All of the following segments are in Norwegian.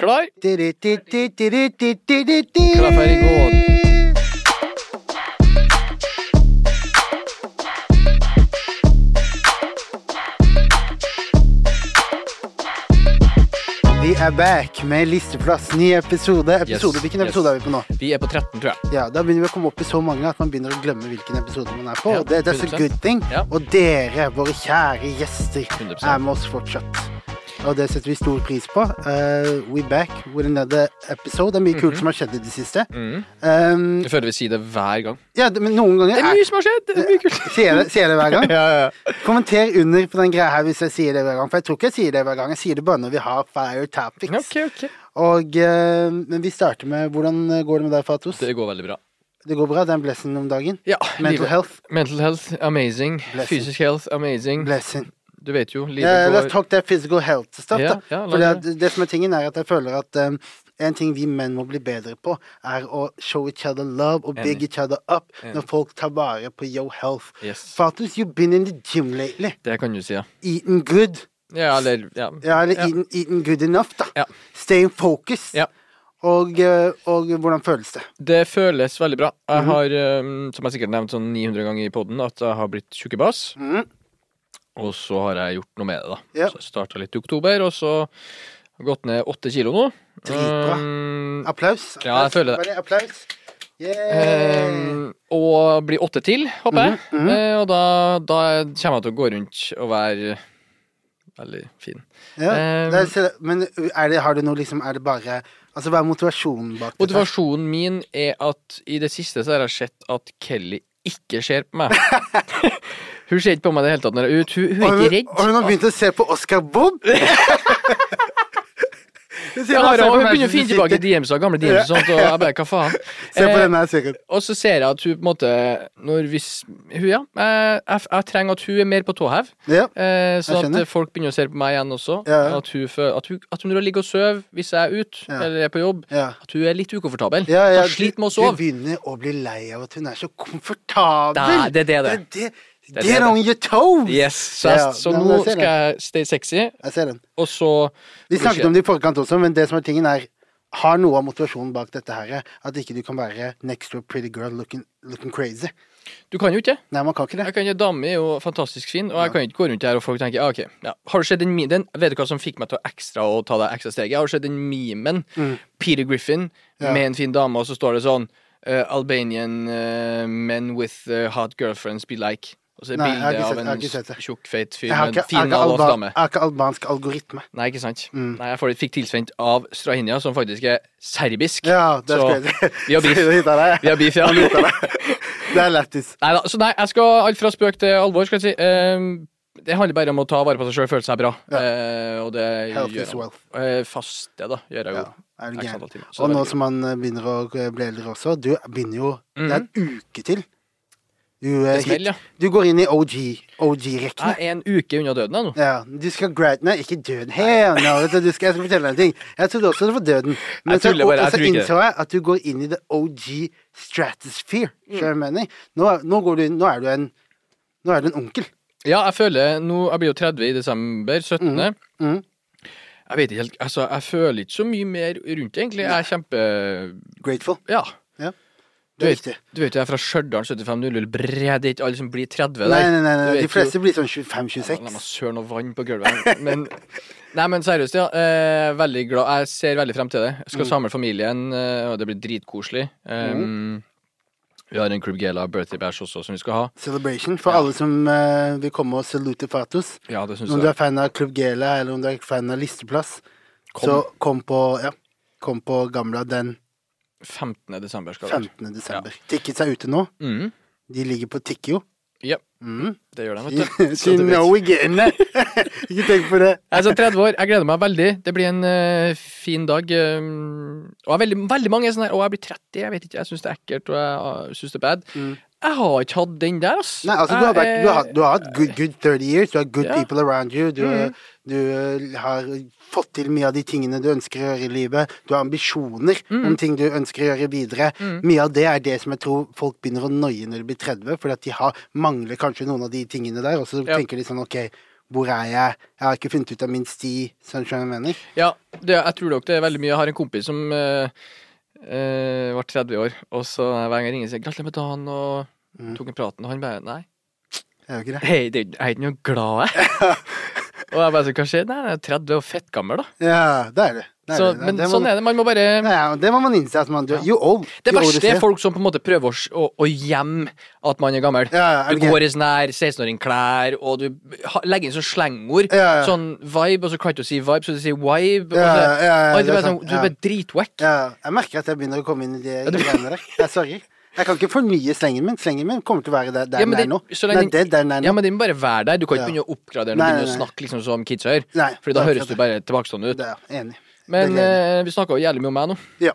Klar? Klaffer i gård. Vi er back med Listeplass, ny episode. episode Yes, hvilken yes. episode er vi på nå? Vi er på 13, tror jeg. Ja, Da begynner vi å komme opp i så mange at man begynner å glemme hvilken episode man er på. Ja, og det, that's a 100%. good thing. Ja. Og dere, våre kjære gjester, 100%. er med oss fortsatt. Og det setter vi stor pris på. Uh, we back with another episode. Det er mye Mhm. kult som har skjedd i det siste. Um, Jeg føler vi sier det hver gang. ja, det- men noen ganger Mhm. Det er er- mye som har skjedd! Det er mye kult. Sier jeg det, sier jeg det hver gang? Ja, ja. Kommenter under på den greia her hvis jeg sier det hver gang. For jeg tror ikke jeg sier det hver gang. Jeg sier det bare når vi har fire topics. Ok, ok. Og, eh, men vi starter med Hvordan går det med deg, Fatos? Det, Det går veldig bra. går bra? Det er en blessing om dagen? Ja, Mental livet- health? Mental health, amazing. Blessing. Fysisk health, amazing. Blessing. Du vet jo, livet Yeah, let's går Eh, talk that physical health stuff, Ja, da. ja, la For oss det, det som er tingen, er at jeg føler at eh, en ting vi menn må bli bedre på, er å show each other love og big Enig. each other up når Enig. folk tar vare på your health. Yes. Fatus, you've been in the gym lately. Det kan du si, ja. Eaten good. Ja, eller ja. Ja, eller Ja. Eaten, eaten good enough, da. Ja. Staying focused. Ja. Og, eh, og hvordan føles det? Det føles veldig bra. Jeg Mhm. har, eh, som jeg sikkert nevnt sånn 900 ganger i poden, at jeg har blitt tjukkebass. Mhm. Og så har jeg gjort noe med det, da. Ja. Så jeg starta litt i oktober, og så har jeg gått ned åtte kilo nå. Dritbra. Um, Applaus. Ja, jeg føler det. Bare applaus. Yeah. um, og blir åtte til, håper jeg. Mm, Eh, og da, da kommer jeg til å gå rundt og være veldig fin. ja. um, Nei, se det. Men er det, har du noe liksom Er det bare Altså, hva er motivasjonen bak dette? Motivasjonen min er at i det siste så har jeg sett at Kelly ikke ser på meg. hun ser ikke på meg i det hele tatt når jeg er ute. Hun, hun Og er hun, ikke redd. og hun har begynt å se på Oscar Bob! Ja, har, hun begynner å finne tilbake DMs og gamle DMs og sånt, og jeg bare, hva faen? Se på Eh, den her, sikkert. Og så ser jeg at hun på en måte Når hvis Hun, ja. Jeg, jeg, jeg trenger at hun er mer på tå hev. Ja. Eh, sånn skjønner. at folk begynner å se på meg igjen også. Ja, ja. At, hun, fø- at, hun, at hun ligger og sover hvis jeg er ute Ja. eller er på jobb. Ja. At hun er litt ukomfortabel. Ja, ja, Da sliter med å Du sove. begynner å bli lei av at hun er så komfortabel. Nei, det er det det er. Det er det. Det er Get det. on your toes! Yes, så, jeg, Ja, så nei, nå jeg ser skal jeg stay sexy, Jeg ser den. og så Vi snakket om det i forkant også, men det som er tingen er har noe av motivasjonen bak dette her at ikke du kan være next to a pretty girl looking, looking crazy. Du kan jo ikke det. Nei, man kan ikke det. Jeg kan jo Dame er jo fantastisk fin, og jeg kan ikke gå rundt her og folk tenker ah, ok, ja. Har du sett den, mi- den Vet du hva som fikk meg til å ekstra å ta det ekstra steget? Har du sett den memen? Peter Griffin Mm. Ja. med en fin dame, og så står det sånn eh, Albanian eh, men with eh, hot girlfriends be like. Og så er Nei, jeg har bildet ikke sett- av jeg har ikke sett det. en tjukk, feit fyr Jeg har med ikke, en jeg har fin ikke, albansk alba, dame. jeg har ikke albansk algoritme. Nei, ikke sant? Mm. Nei, jeg får, fikk tilsendt av Strahinia, som faktisk er serbisk. Ja, det er Så, crazy. vi har beef. Så hit er det. Vi har beef, ja. Det er lættis. Nei da. Så nei, jeg skal alt fra spøk til alvor, skal jeg si. Ehm, det handler bare om å ta vare på seg sjøl, føle seg bra. Ja. Eh, og det Health gjør is jeg. wealth. Eh, faste, da, gjør jeg jo. Ja, er du X gæren. antall timer. Så Og det er nå veldig som man eh, begynner å eh, bli eldre også, du begynner jo Det er Mhm. en uke til. Du, eh, Det smeller, ja. du går inn i OG bra. OG-rekkene. Jeg er en uke unna døden, jeg nå. Ja, du skal grad... Nei, ikke døden. Hell no, vet du, du skal, jeg skal fortelle deg en ting. Jeg trodde også det var døden. Men Jeg så, tuller og, bare, jeg så tror ikke det. innså jeg at du går inn i the OG stratosphere. Mm. Skjønner du hva jeg mener? Nå, er- nå, går du inn, nå er du en Nå er du en onkel. Ja, jeg føler nå Jeg blir jo 30 i desember. 17. Mm. Jeg vet ikke helt Altså, jeg føler ikke så mye mer rundt det, egentlig. Jeg er kjempe Grateful. Ja. Ja. Du Det er vet, viktig. du vet jo, jeg er fra Stjørdal 7500 Bre, det er ikke alle som blir 30 der. Nei, nei, nei, Du nei. De vet jo- fleste blir sånn Ja, La meg 25-26. søle noe vann på gulvet. her. Men, nei, men seriøst, ja. Eh, veldig glad. Jeg ser veldig frem til det. Jeg skal Mm. samle familien, eh, og det blir dritkoselig. Mm. Um, Vi har en Club Gela birthday bash også, som vi skal ha. Celebration for alle som eh, vil komme og salute Fatos. Ja, det synes Om du jeg. er fan av Klubb Gela, eller om du er fan av Listeplass, så kom på, ja, kom på Gamla den 15. desember skal det være. 15. desember. Tickets er ute nå. Mhm. De ligger på Tikkio. Ja, Mm. det gjør de, vet du. Så You du vet. know again. Ikke tenk på det. Jeg er så 30 år, jeg gleder meg veldig. Det blir en eh, fin dag. Um, og jeg er veldig, veldig mange er sånn her Å, jeg blir 30, jeg vet ikke, jeg syns det er ekkelt, og jeg uh, syns det er bad. Mm. Jeg har ikke hatt den der, ass. Nei, altså, du har, Jeg vært, du har, er- du har hatt good, good 30 years. Du har good Ah, eh, Ja. Mm. people around you. Du, du eh, har fått til mye av de tingene du ønsker å gjøre i livet. Du har ambisjoner Mm. om ting du ønsker å gjøre videre. Mye av det er det som jeg tror folk begynner å noie når de blir 30, fordi at de har, mangler kanskje noen av de tingene der. Og så Ja. tenker de sånn OK, Hvor er jeg? Jeg har ikke funnet ut av min sti. Sånn skjønner du hva jeg mener? Ja, det, jeg tror nok det er veldig mye. Jeg har en kompis som eh, eh, var 30 år, og så hver gang jeg ringer, sier jeg 'gratulerer med dagen', og Mm. tok en praten, og han bare 'nei, Jeg gjør ikke det. hei, det, jeg er ikke noe glad jeg'. og jeg bare så, 'hva skjer?' Nei, jeg er 30 og fettgammel, da. Ja, det er det. det, er Så, det. men det må, sånn er det. Man må bare Nei, ja, det må man innse at man du, You old. Det you old verste er yourself. folk som på en måte prøver å, s- å, å gjemme at man er gammel. Ja, ja, du ok. går i sånn her 16-åring-klær, og du ha- legger inn sånn slengord. Ja, ja. Sånn vibe, og så klarer du ikke å si vibe, så du sier vibe. Ja, og så, ja, ja, Oi, du, det er er sånn, sant, du ja. er bare dritwack. Ja, jeg merker at jeg begynner å komme inn i de du- greiene der. Jeg sorry. Jeg kan ikke fornye slengen min. Slengen min kommer til å være der, der Ja, men den er det- nå. så Den lenge er det, der den er nå. Ja, men det må bare være der. Du kan ikke Ja. begynne å oppgradere den Nei, og begynne å nei, nei. snakke liksom som kidsa gjør. Nei, Fordi da det er høres akkurat du det. bare tilbakestående ut. Det er jeg enig. i. Men det er eh, vi snakka jo jævlig mye om meg nå. Ja.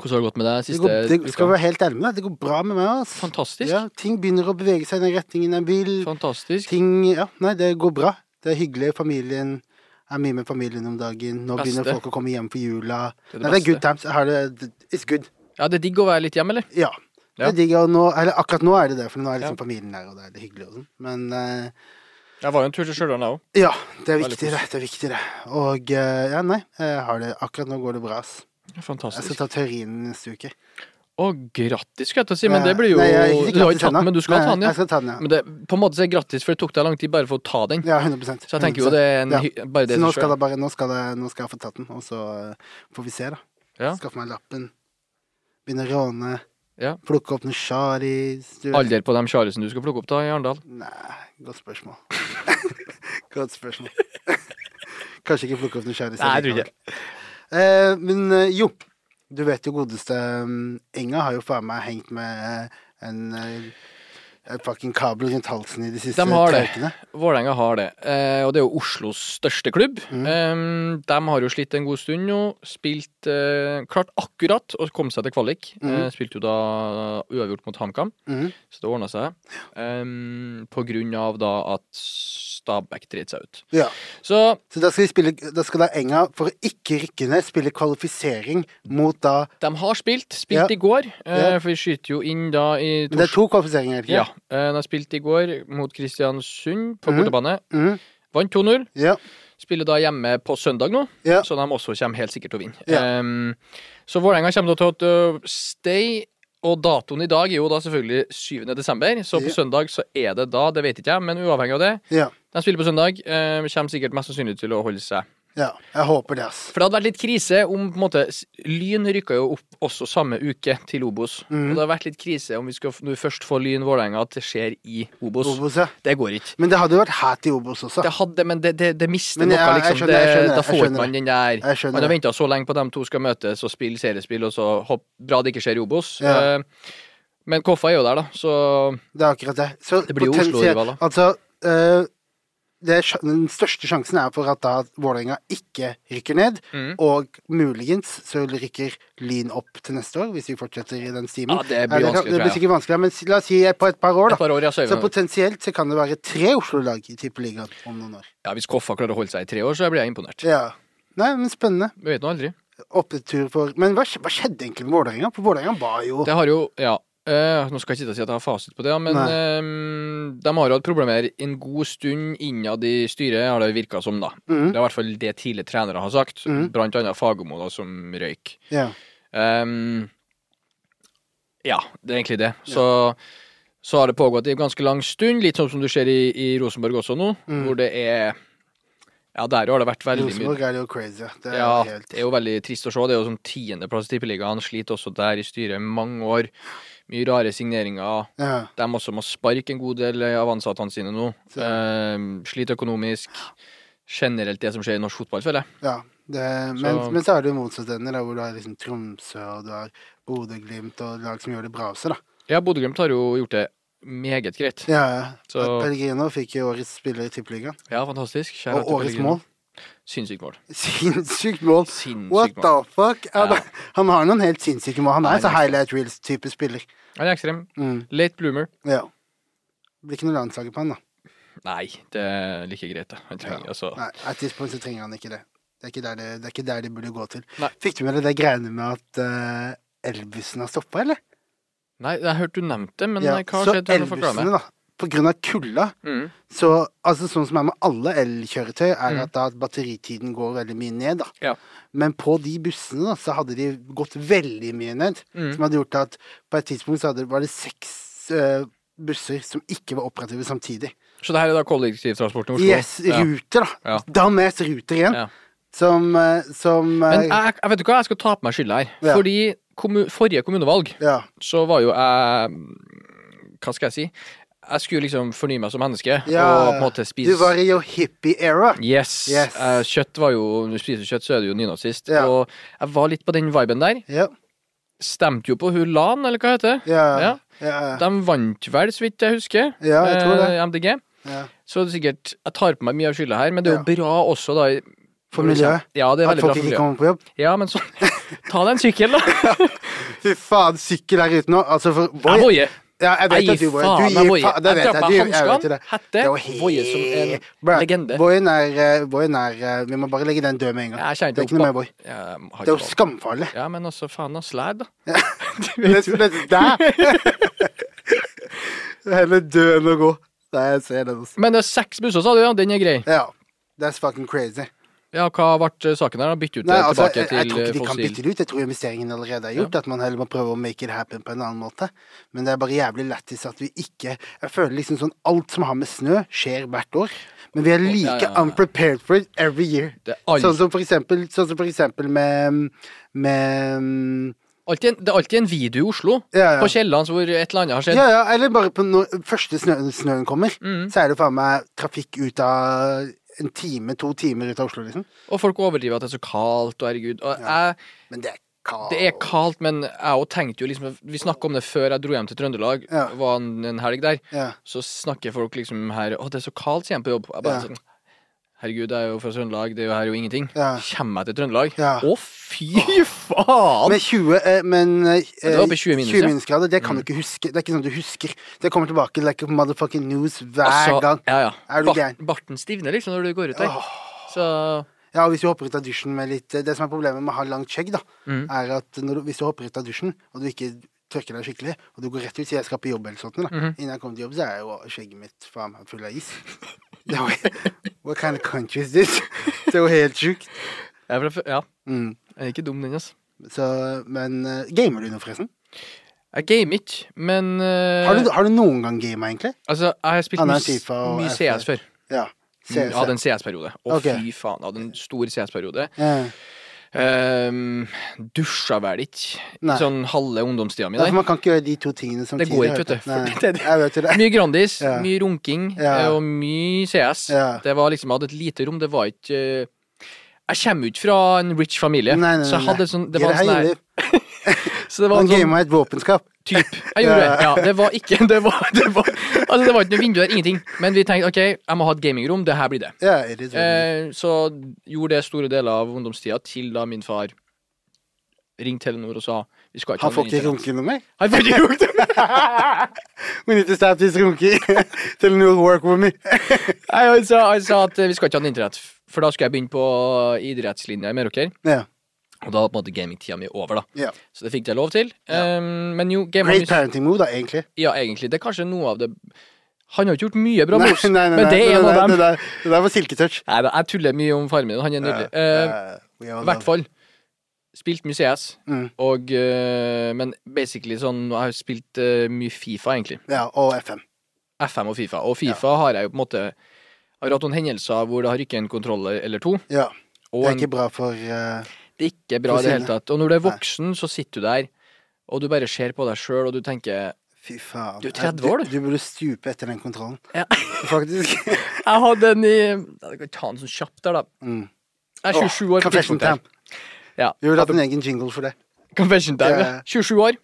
Hvordan har det gått med deg Det, siste går, det skal uka? være helt ærlig med deg. Det går bra med meg. ass. Fantastisk. Ja, ting begynner å bevege seg i den retningen jeg vil. Fantastisk. Ting Ja, nei, det går bra. Det er hyggelig. Familien er mye med familien om dagen. Nå Beste. begynner folk å komme hjem for jula. nei, Det er det det er beste. good times. Jeg har det It's good. Ja, det er digg å være litt hjemme, eller? Ja. Ja. Det er digg. Og nå, eller akkurat nå er det det, for nå er Ja. liksom familien der, og det er det hyggelig og sånn. Men eh, Jeg var jo en tur til Stjørdal, jeg òg. Ja, det er Veldig viktig, det. det er viktig, det. Og eh, ja, nei, jeg har det. akkurat nå går det bra. ass. Jeg Fantastisk. skal ta teorien neste uke. Eh, Å, grattis, skal jeg til å si, men det blir jo Nei, jeg har ikke Du grattis har ikke tatt ennå. den, men du skal Nei, ta den, Jeg ja. skal ta den, ja. Men det, på en måte så er det grattis, for det tok deg lang tid bare for å ta den. Ja, 100 Så jeg tenker jo det er en, Mm, Ja. hy- bare det Så nå i seg skal, selv. jeg bare, nå, skal jeg, nå skal jeg få tatt den, og så eh, får vi se, da. Ja. Skaffe meg lappen. Begynne å råne. Ja. Plukke opp noen sjaris. du vet. Alder på de sjarisene du skal plukke opp da i Arendal. Nei, godt spørsmål. godt spørsmål. Kanskje ikke plukke opp noen sjaris. Nei, jeg tror ikke. Eh, men eh, jo, du vet jo godeste mm, Enga har jo faen meg hengt med eh, en eh, en fucking kabel rundt halsen i de siste De har det. ukene. Vålerenga har det, eh, og det er jo Oslos største klubb. Mm. Eh, de har jo slitt en god stund nå. Spilt eh, klart akkurat å komme seg til kvalik. Mm. Eh, spilte jo da uavgjort mot HamKam, Mhm. så det ordna seg. Eh, på grunn av da at Stabæk dreit seg ut. Ja. Så Så da skal, de spille, da skal da Enga, for å ikke rykke ned, spille kvalifisering mot da De har spilt. Spilt Ja. i går, eh, Ja. for vi skyter jo inn da i Men det er tors- to kvalifiseringer, er det ikke? Ja, eh, De har spilt i går mot Kristiansund på Mhm. bortebane. Mhm. Vant 2-0. Ja. Spiller da hjemme på søndag nå, Ja. så de også kommer helt sikkert til å vinne. Ja. Ehm, så Vålerenga kommer da til å stay, og datoen i dag er jo da selvfølgelig 7. desember, så på Ja. søndag så er det da, det vet ikke jeg, men uavhengig av det. ja. De spiller på søndag, eh, kommer sikkert mest sannsynlig til å holde seg. Ja. Jeg håper det, ass. For det hadde vært litt krise om på en måte, s- Lyn rykka jo opp også samme uke til Obos. Mhm. Og det hadde vært litt krise om vi skal f- nå først få Lyn-Vålerenga at det skjer i Obos. Obos, ja. Det går ikke. Men det hadde jo vært hat i Obos også. Det hadde, men det, det, det mister Men jeg- noe, jeg liksom. skjønner, jeg skjønner, det, da jeg får skjønner. man den der Jeg skjønner. Man har venta så lenge på at de to skal møtes og spille seriespill, og så hopp, bra det ikke skjer i Obos. Ja. Eh, Men Koffa er jo der, da, så Det er akkurat det. Så Det blir jo potensielt- Oslo-rivaler. Altså, øh, det er, sj- den største sjansen er for at da Vålerenga ikke rykker ned, Mm. og muligens så rykker Lyn opp til neste år, hvis vi fortsetter i den stimen. Ja, kan- det blir vanskelig, det tror jeg. blir sikkert vanskelig, men si- la oss si på et par år, da. Et par år, ja, så er vi så nok- potensielt så kan det være tre Oslo-lag i Tippeligaen om noen år. ja, Hvis Koffa klarer å holde seg i tre år, så blir jeg imponert. Ja. Nei, men spennende. Vi vet nå aldri. Opptur for Men hva, skj- hva skjedde egentlig med Vålerenga? For Vålerenga var jo Det har jo, ja eh, Nå skal jeg ikke sitte og si at jeg har fasit på det, ja, men Nei. eh, de har jo hatt problemer en god stund innad i styret, har det virka som, da. Mhm. Det er i hvert fall det tidligere trenere har sagt, Mhm. blant annet Fagermo, da, som røyk. Ja. Ehm, ja, det er egentlig det. Så, så har det pågått i ganske lang stund, litt sånn som du ser i, i Rosenborg også nå, hvor det er Ja, der har det vært veldig mye Mm. Rosenborg er jo crazy. Det er ja, helt det er jo veldig trist å se. Det er jo sånn tiendeplass i Tippeligaen. Sliter også der i styret mange år. Mye rare signeringer. ja. De også må sparke en god del av ansattene sine nå. Så- Ehm, sliter økonomisk. Generelt det som skjer i norsk fotball, føler jeg. Ja, det, men, Så- men så er det jo motsatt ende, da, hvor du har liksom Tromsø og du har Bodø-Glimt og lag som gjør det bra også, da. Ja, Bodø-Glimt har jo gjort det meget greit. Ja, ja. Så- Pellegrino fikk jo årets spiller i Tippeligaen. Ja, fantastisk. Shout out Og til årets Pellegrino. mål. Sinnssykt mål. Sinnssykt mål! Sinnssykt What the mål. fuck? Ja, Ja. da, han har noen helt sinnssyke mål. Han Ja, er så han er highlight reels-type spiller. Han er ekstrem. Mm, Late bloomer. ja. Blir ikke noe landslaget på han, da. Nei, det er like greit, det. Han trenger altså Nei, At this point så trenger han ikke det. Det er ikke der det, det, er ikke der det burde gå til. Nei. Fikk du med deg det greiene med at eh, elbussen har stoppa, eller? Nei, jeg hørte du nevnte det, men eh, Ja, hva har så skjedd? Du må forklare meg. elbussene, da. på grunn av kulda, Mm. så altså sånn som er med alle elkjøretøy, er at da batteritiden går veldig mye ned, da. Ja. Men på de bussene da, så hadde de gått veldig mye ned, Mm. som hadde gjort at på et tidspunkt så hadde, var det seks eh, busser som ikke var operative samtidig. Så det her er da kollektivtransporten i Oslo? Yes, Ja. ruter, da. Ja. Damnes ruter igjen. Ja. Som, eh, som eh, Men jeg, jeg vet du hva, jeg skal ta på meg skylda her. Ja. Fordi kommu forrige kommunevalg Ja. så var jo jeg Hva skal jeg si? Jeg skulle liksom fornye meg som menneske og på en måte spise Du var i jo hippie-era. Yes. Yes. Eh, kjøtt var jo Når du spiser kjøtt, så er du jo nynazist. Ja. Og jeg var litt på den viben der. Ja. Stemte jo på hun Lan, eller hva heter det? Ja. ja. Ja. De vant vel, så vidt jeg husker, Ja, jeg tror det. eh, MDG. ja. Så det er sikkert Jeg tar på meg mye av skylda her, men det er jo bra også, da. i- For miljøet. Ja, det er At veldig bra folk for ikke miljøet. kommer på jobb. Ja, men så Ta deg en sykkel, da. Fy faen, sykkel her ute nå. Altså, for Jeg Voi- voier. Ja, jeg vet Jeg at du gir Voi. faen, Du jeg voier. faen, det Jeg vet drar på Du- meg jeg vet hanskene, det. hette, Det var voier som en helt- Bra. legende. Voien er, eh, Voien er eh, Vi må bare legge den død med en gang. Jeg kjenner det er ikke noe mer Voi. Jeg har Det er ikke jo valg. skamfarlig. Ja, men altså, faen ass, lær, da. Det er- det er der. Heller dø enn å gå. Nei, jeg ser den også. Men det er seks busser, sa du, ja. Den er grei. Ja. That's fucking crazy. Ja, hva ble eh, saken her, da? Bytte ut det Nei, altså, jeg, tilbake jeg tror til ikke eh, de kan fossil? bytte det ut. Jeg tror investeringen allerede er gjort. At man heller må prøve å make it happen på en annen måte. Men det er bare jævlig lættis at vi ikke Jeg føler liksom sånn alt som har med snø, skjer hvert år. Men vi er like ja, ja. unprepared for it every year. Det er alt- Sånn som for eksempel, sånn som for eksempel med, med Alltid en, det er alltid en video i Oslo, Ja, ja. på Kiellands, hvor et eller annet har skjedd. ja, ja, eller bare på når første snø, snøen kommer, Mm. så er det faen meg trafikk ut av en time, to timer ut av Oslo, liksom. Og folk overdriver at det er så kaldt, og herregud. Og jeg, Men det er kaos. det er kaldt, men jeg òg tenkte jo liksom Vi snakka om det før jeg dro hjem til Trøndelag, Ja. var en, en helg der. Ja. Så snakker folk liksom her Å, det er så kaldt, sier de på jobb. Jeg bare Ja. sånn Herregud, jeg er jo fra Trøndelag, det er jo her er jo ingenting. Ja. Kommer jeg til Trøndelag? Ja. Å, fy faen! Men 20, eh, men, eh, det var oppe i 20 minus, ja. Mm. minusgrader, det kan du ikke huske. Det er ikke sånn du husker. Det kommer tilbake like motherfucking news hver Altså, gang. Ja, ja. Er du Bart- gæren? Barten stivner liksom når du går ut der. Så Ja, og hvis du hopper ut av dusjen med litt eh, Det som er problemet med å ha langt skjegg, da, Mm. er at når du, hvis du hopper ut av dusjen, og du ikke tørker deg skikkelig, og du går rett ut, sier jeg skal på jobb eller sånt, da. Mhm. Innen jeg kom til jobb, så er jo skjegget mitt faen meg full av is. Det var, what kind of country is this? Det er jo helt sjukt. jeg er fra, Ja. Mm. Jeg er ikke dum, den, altså. Så, men eh, gamer du nå, forresten? Jeg gamer ikke, men eh, Har du, har du noen gang gama, egentlig? Altså, jeg har spilt Han er mye, FIFA og mye FF. CS før. Ja. Jeg CS. hadde en CS-periode. Å, Ok. fy faen, jeg hadde en stor CS-periode. Ja. Um, dusja vel ikke Nei. i sånn halve ungdomstida mi Ja, for der. man kan ikke gjøre de to tingene samtidig. Det går ikke, vet du, Nei, for det er det. Jeg vet jo det. Mye Grandis, Ja. mye runking Ja. eh, og mye CS. Ja. Det var liksom, Jeg hadde et lite rom. Det var ikke eh, Jeg kommer jo ikke fra en rich familie, Nei, nei, nei, så jeg nei. hadde et sånn, det Gjør var en her sånn her- hjemme. så det var Han en sånn gama et våpenskap. Typ. Jeg gjorde Ja. det. Ja, det var ikke det var, det var, Altså, det var ikke noe vindu der, ingenting. Men vi tenkte OK, jeg må ha et gamingrom, det her blir det. Ja, sånn? it is what it is. Eh, så gjorde det store deler av ungdomstida til da min far ringte Telenor og sa vi skal ikke Han ha får noe ikke internett. runke noe mer. Han får ikke runke. We need to stop this runking. Telenor work with me. Nei, han sa, han sa at eh, vi skal ikke ha noe internett, for da skal jeg begynne på eh, idrettslinja i Meråker. Ja. Og da var på en måte gamingtida mi over, da. ja. Så det fikk jeg lov til. Eh, men jo, game Great parenting move, da, egentlig. Ja, egentlig. Det er kanskje noe av det Han har ikke gjort mye bra, Mos, nei, men det er en av dem. Det der, det der var silketouch. Nei da, jeg tuller mye om faren min. Han er nydelig. Eh, Eh, we all I love- hvert fall. Spilt mye CS, Mm. og, eh, men basically sånn Jeg har spilt eh, mye Fifa, egentlig. Ja, og FM. FM og Fifa. Og Fifa har jeg jo på en måte Har hatt noen hendelser hvor det har rykket en kontroller eller to. Ja. Og Det er en- ikke bra for eh, det er ikke bra i det sinnet. hele tatt. Og når du er voksen, så sitter du der, og du bare ser på deg sjøl, og du tenker Fy faen. Du er 30 år, du. Du burde stupe etter den kontrollen. Ja. Faktisk. Jeg hadde en i Jeg kan ta den sånn kjapt der, da. Mm. Jeg er 27 år. på Confession tidspunktet her. time. Ja. Vi burde hatt en egen jingle for det. Confession time, ja. Ja. 27 år.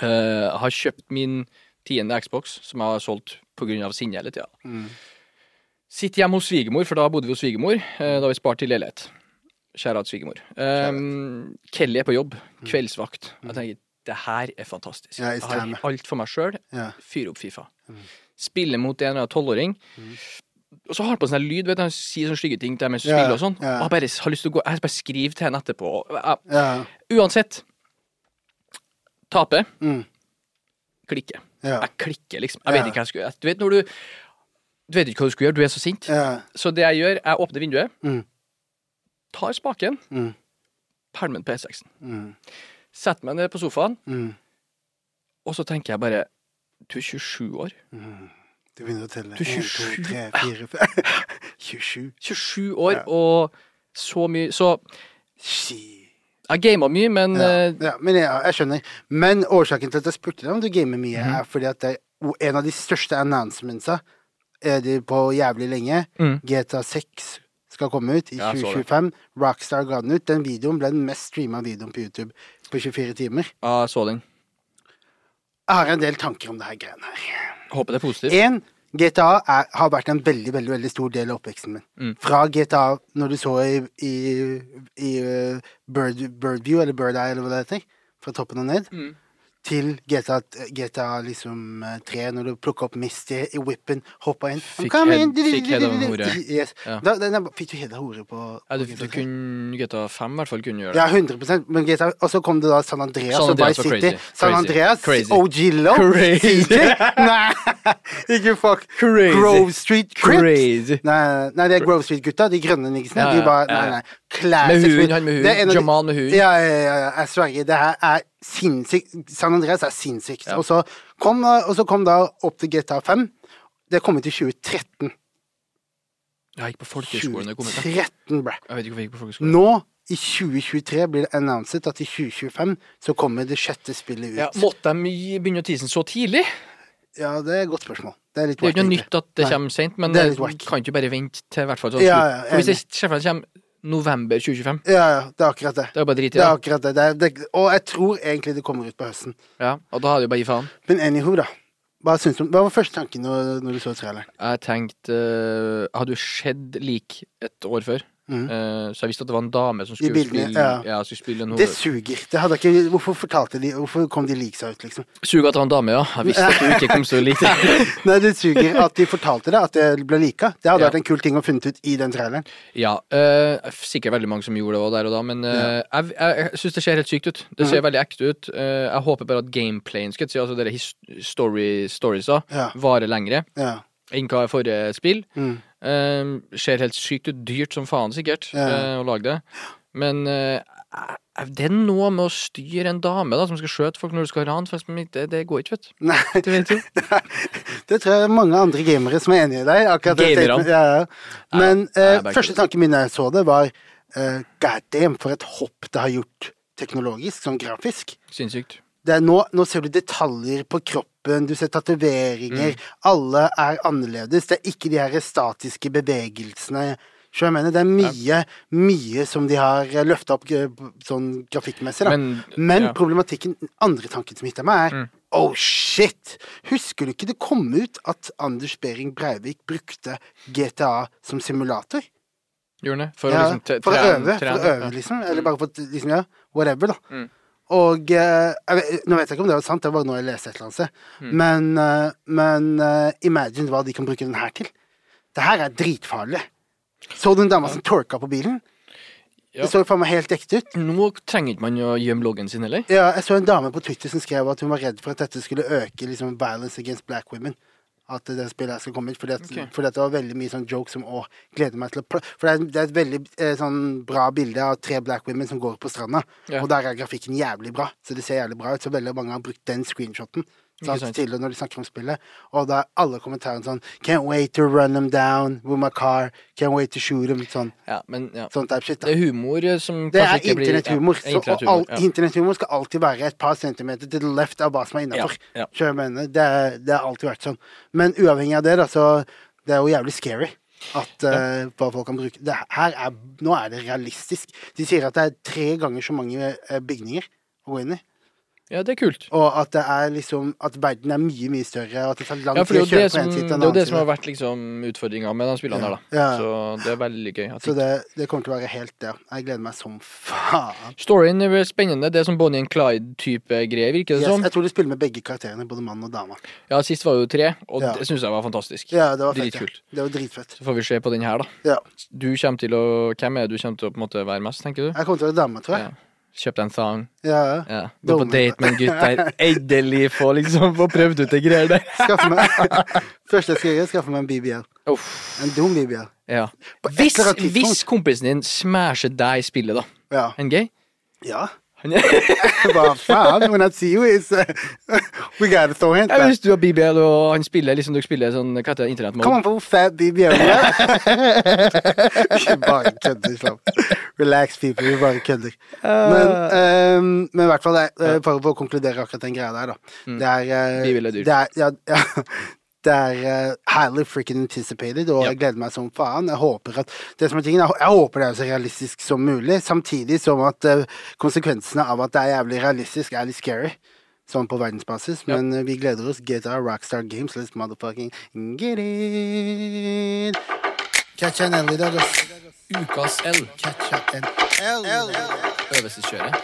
Eh, har kjøpt min tiende Xbox, som jeg har solgt pga. sinne hele tida. Mm. Sitter hjemme hos svigermor, for da bodde vi hos svigermor. eh, da vi spart til leilighet. Kjære at svigermor. Eh, Kelly er på jobb, kveldsvakt. Jeg tenker det her er fantastisk. Mm. Ja, it's jeg har time. alt for meg sjøl. Ja. Fyre opp Fifa. Mm. Spille mot en eller annen tolvåring. Og så har han på sånn her lyd, vet du, han sier sånne stygge ting til dem mens du Ja, spiller og sånn. ja. Og jeg bare har lyst til å gå, jeg bare skriver til henne etterpå. Jeg, Ja. Uansett. Tape. Mm. Klikke. Ja. Jeg klikker, liksom. Ja. Jeg vet ikke hva jeg skulle gjøre. Du vet når du Du vet ikke hva du skulle gjøre, du er så sint. Ja. Så det jeg gjør, jeg åpner vinduet, Mm. tar spaken, Mm. pælmer på E6-en, Mm. setter meg ned på sofaen, Mm. og så tenker jeg bare Du er 27 år. Du begynner å telle. Du er Ah. 1, 27. 2, 3, 4, 5 27. 27 år Ja. og så mye Så Shit. jeg gama mye, men Ja, eh, ja, men jeg, jeg skjønner. Men årsaken til at jeg spurte deg om du gamer mye, Mhm. er fordi at det, o- en av de største announcementsa er det på jævlig lenge. Mm. GTA 6 skal komme ut i Ja, jeg så det. 2025. Rockstar ga den ut. Den videoen ble den mest streama videoen på YouTube på 24 timer. ja, jeg så den. Jeg har en del tanker om det her greiene her. Håper det er positivt. En, GTA er, har vært en veldig veldig, veldig stor del av oppveksten min. Mm. Fra GTA, når du så i, i, i uh, Bird, Birdview, eller Bird Eye, eller hva det heter, fra toppen og ned, Mm. til GTA, t- GTA liksom eh, 3, når du plukka opp Misty i whippen, hoppa inn Fikk Come head- in, fikk head av en hore. Yes. Ja. Da, den er, fikk du head av hore på Ja, du, på du GTA 3? kunne GTA 5 i hvert fall kunne gjøre det. Ja, 100 men GTA, Og så kom det da San Andreas, San Andreas og Vice var City. crazy. San Crazy. Andreas, Crazy. OG-lo, Crazy. CJ Nei, ikke fuck. Crazy. Grove Street Crips. Crazy. Nei, nei, nei, det er Grove Street-gutta, de grønne niggisene. Ja, De ja, bare ja, Nei, ja. nei. Classic. Med huden, Street. han med huden. Det er en av de- Jamal med huden. Ja, ja, ja, ja, jeg sverger. Det her er sinnssykt. San Andreas er sinnssykt. Og, så kom, eh, og så kom da opp til GTA 5. Det kom ut i 2013. Jeg gikk på folkehøyskolen da det kom ut. Jeg 2013, bra. Jeg vet ikke hvorfor jeg gikk på folkehøyskolen. Nå, i 2023, blir det annonset at i 2025 så kommer det sjette spillet ut. Ja, Ja, måtte de gi- begynne å tease den så tidlig? det er et godt spørsmål. Det er litt Det er jo ikke noe wack, egentlig. nytt at det Nei. kommer sent, men Det er det litt whack. kan ikke bare vente til i hvert fall sånn. Ja, slutt. ja, For hvis det enig. sjefene kommer november 2025, Ja, ja, det er akkurat det. det er jo bare drit i Det det. er akkurat det. det, er, det og jeg tror egentlig det kommer ut på høsten. Ja, og da hadde jeg bare gi faen. Men anywho, da. Hva, syns du, om- hva var første tanken når, når du så traileren? Jeg tenkte eh, Hadde jo skjedd lik et år før, Mhm. Eh, så jeg visste at det var en dame som skulle bildene, spille ja. Ja, skulle spille en Det hoved... suger. Det hadde jeg ikke, hvorfor fortalte de Hvorfor kom de leaks ut, liksom? Suger at det var en dame, ja. Jeg visste at du ikke kom til å like det. Nei, det suger at de fortalte det, at det ble lika. Det hadde Ja. vært en kul ting å funnet ut i den traileren. Ja, eh, sikkert veldig mange som gjorde det også der og da, men eh, jeg, jeg, jeg syns det ser helt sykt ut. Det Mm. ser veldig ekte ut. Eh, jeg håper bare at gameplayen, skal jeg si, altså dere his story, storiesa, Ja. varer lengre Ja. enn hva forrige spill. Mm. Eh, ser helt sykt ut. Dyrt som faen, sikkert, Ja. eh, å lage det. Men eh, jeg- jeg- det er noe med å styre en dame da, som skal skjøte folk når du skal rane, for eksempel, det, det går ikke, vet du. Nei, Det vet du. det tror jeg er mange andre gamere som er enig i deg. akkurat det Gamere. statementet. Ja, ja. Men Nei, eh, det er bare første tanken min da jeg så det, var eh, God damn, for et hopp det har gjort teknologisk, sånn grafisk. Sinnssykt. Det er nå, nå ser du detaljer på kroppen, du ser Mm. tatoveringer. Alle er annerledes. Det er ikke de her statiske bevegelsene. Så jeg mener, det er mye, mye som de har løfta opp eh, sånn grafikkmessig, da. Men- Men ja. Mm. problematikken, den andre tanken som hitter meg, er Oh shit! Husker du ikke det kom ut at Anders Behring Breivik brukte GTA som simulator? Gjør den det? For, Ja, å, liksom, te- for å trene- øve, trene, for å øve ja. Mm. liksom. Eller bare for at, liksom, ja, whatever, da. Og eh, jeg vet, Nå vet jeg ikke om det var sant, det var bare noe jeg leste et eller annet sted. Mm. Men, eh, men eh, imagine hva de kan bruke den her til. Det her er dritfarlig. Så du den dama som torka på bilen? Ja. Det så jo faen meg helt ekte ut. Nå trenger ikke man å gjemme loggen sin heller. Ja, jeg så en dame på Twitter som skrev at hun var redd for at dette skulle øke liksom, violence against black women. At det spillet her skal komme ut. Fordi at, Ok. fordi at det var veldig mye sånn jokes om å glede meg til å pl For det er, det er et veldig eh, sånn bra bilde av tre black women som går på stranda. Ja. Og der er grafikken jævlig bra. Så det ser jævlig bra ut. Så veldig mange har brukt den screenshoten. Ikke Sant? sant. Til og når de snakker om spillet. Og da er alle kommentarene sånn Can't wait to run them down with my car. Can't wait to shoot them. Sånn, Ja, men ja. sånn type shit. Da. Det er humor eh, som Det kanskje er ikke blir- internetthumor. Ja, så- og all, internetthumor, ja. internetthumor skal alltid være et par centimeter til the left av hva som er innafor. Ja, ja. Det, er- det har alltid vært sånn. Men uavhengig av det, da, så Det er jo jævlig scary at eh, hva folk kan bruke. Det her er, nå er det realistisk. De sier at det er tre ganger så mange eh, bygninger å gå inn i. ja, det er kult. Og at det er liksom At verden er mye, mye større, og at det tar lang Ja, for det tid er å jo kjøre det fra som, en side det til er en jo det annen som har side. vært liksom, utfordringa med de spillene der, da. Ja. Så det er veldig gøy. at Så det, det kommer til å være helt det. Jeg gleder meg som faen. Storyen er vel spennende. Det er sånn Bonnie and Clyde-type greier, virker det Yes, som. jeg tror de spiller med begge karakterene, både mann og dame. Ja, sist var det jo tre, og Ja. det syns jeg var fantastisk. Ja, det var fett. Dritkult. Ja. Det var dritfett. Så får vi se på den her, da. Ja. Du kommer til å Hvem er det du kommer til å på en måte være mest, tenker du? Jeg kommer til å være dame, tror jeg. Ja. Kjøp deg en thong. Ja, ja. Ja. Gå på Dumme. date med en gutt der. Endelig få liksom få prøvd ut de greier der. Skaffe meg Første jeg skal gjøre, er å skaffe meg en BBL. Uff. En dum BBL. Ja. På et Hvis, eller annet tidspunkt- hvis kompisen din smasher deg i spillet, da. Ja. En gay? ja. Han er Hva faen? When I see you, it's uh, We gotta throw hands. Ja, back. hvis du har BBL og han spiller liksom dere spiller sånn hva heter Kom det, internettmål an på hvor fat BBL er. Ikke bare kødder, slapp. Relax, people. Vi bare kødder. Men, ehm, men i hvert fall, det er- eh, bare for å konkludere akkurat den greia der, da. Mm. Det er, eh, BBL er dyrt. det er, ja, ja, det er eh, highly freaking anticipated, og Ja. jeg gleder meg som faen. Jeg håper at det som er tingen, jeg hå- jeg håper det er så realistisk som mulig, samtidig som at eh, konsekvensene av at det er jævlig realistisk, er litt scary. Sånn på verdensbasis, Ja. men eh, vi gleder oss. GTA Rockstar Games, let's motherfucking get it! Catcha en L i dag, ass. Ukas L. Catcha en L. Øvelseskjøret.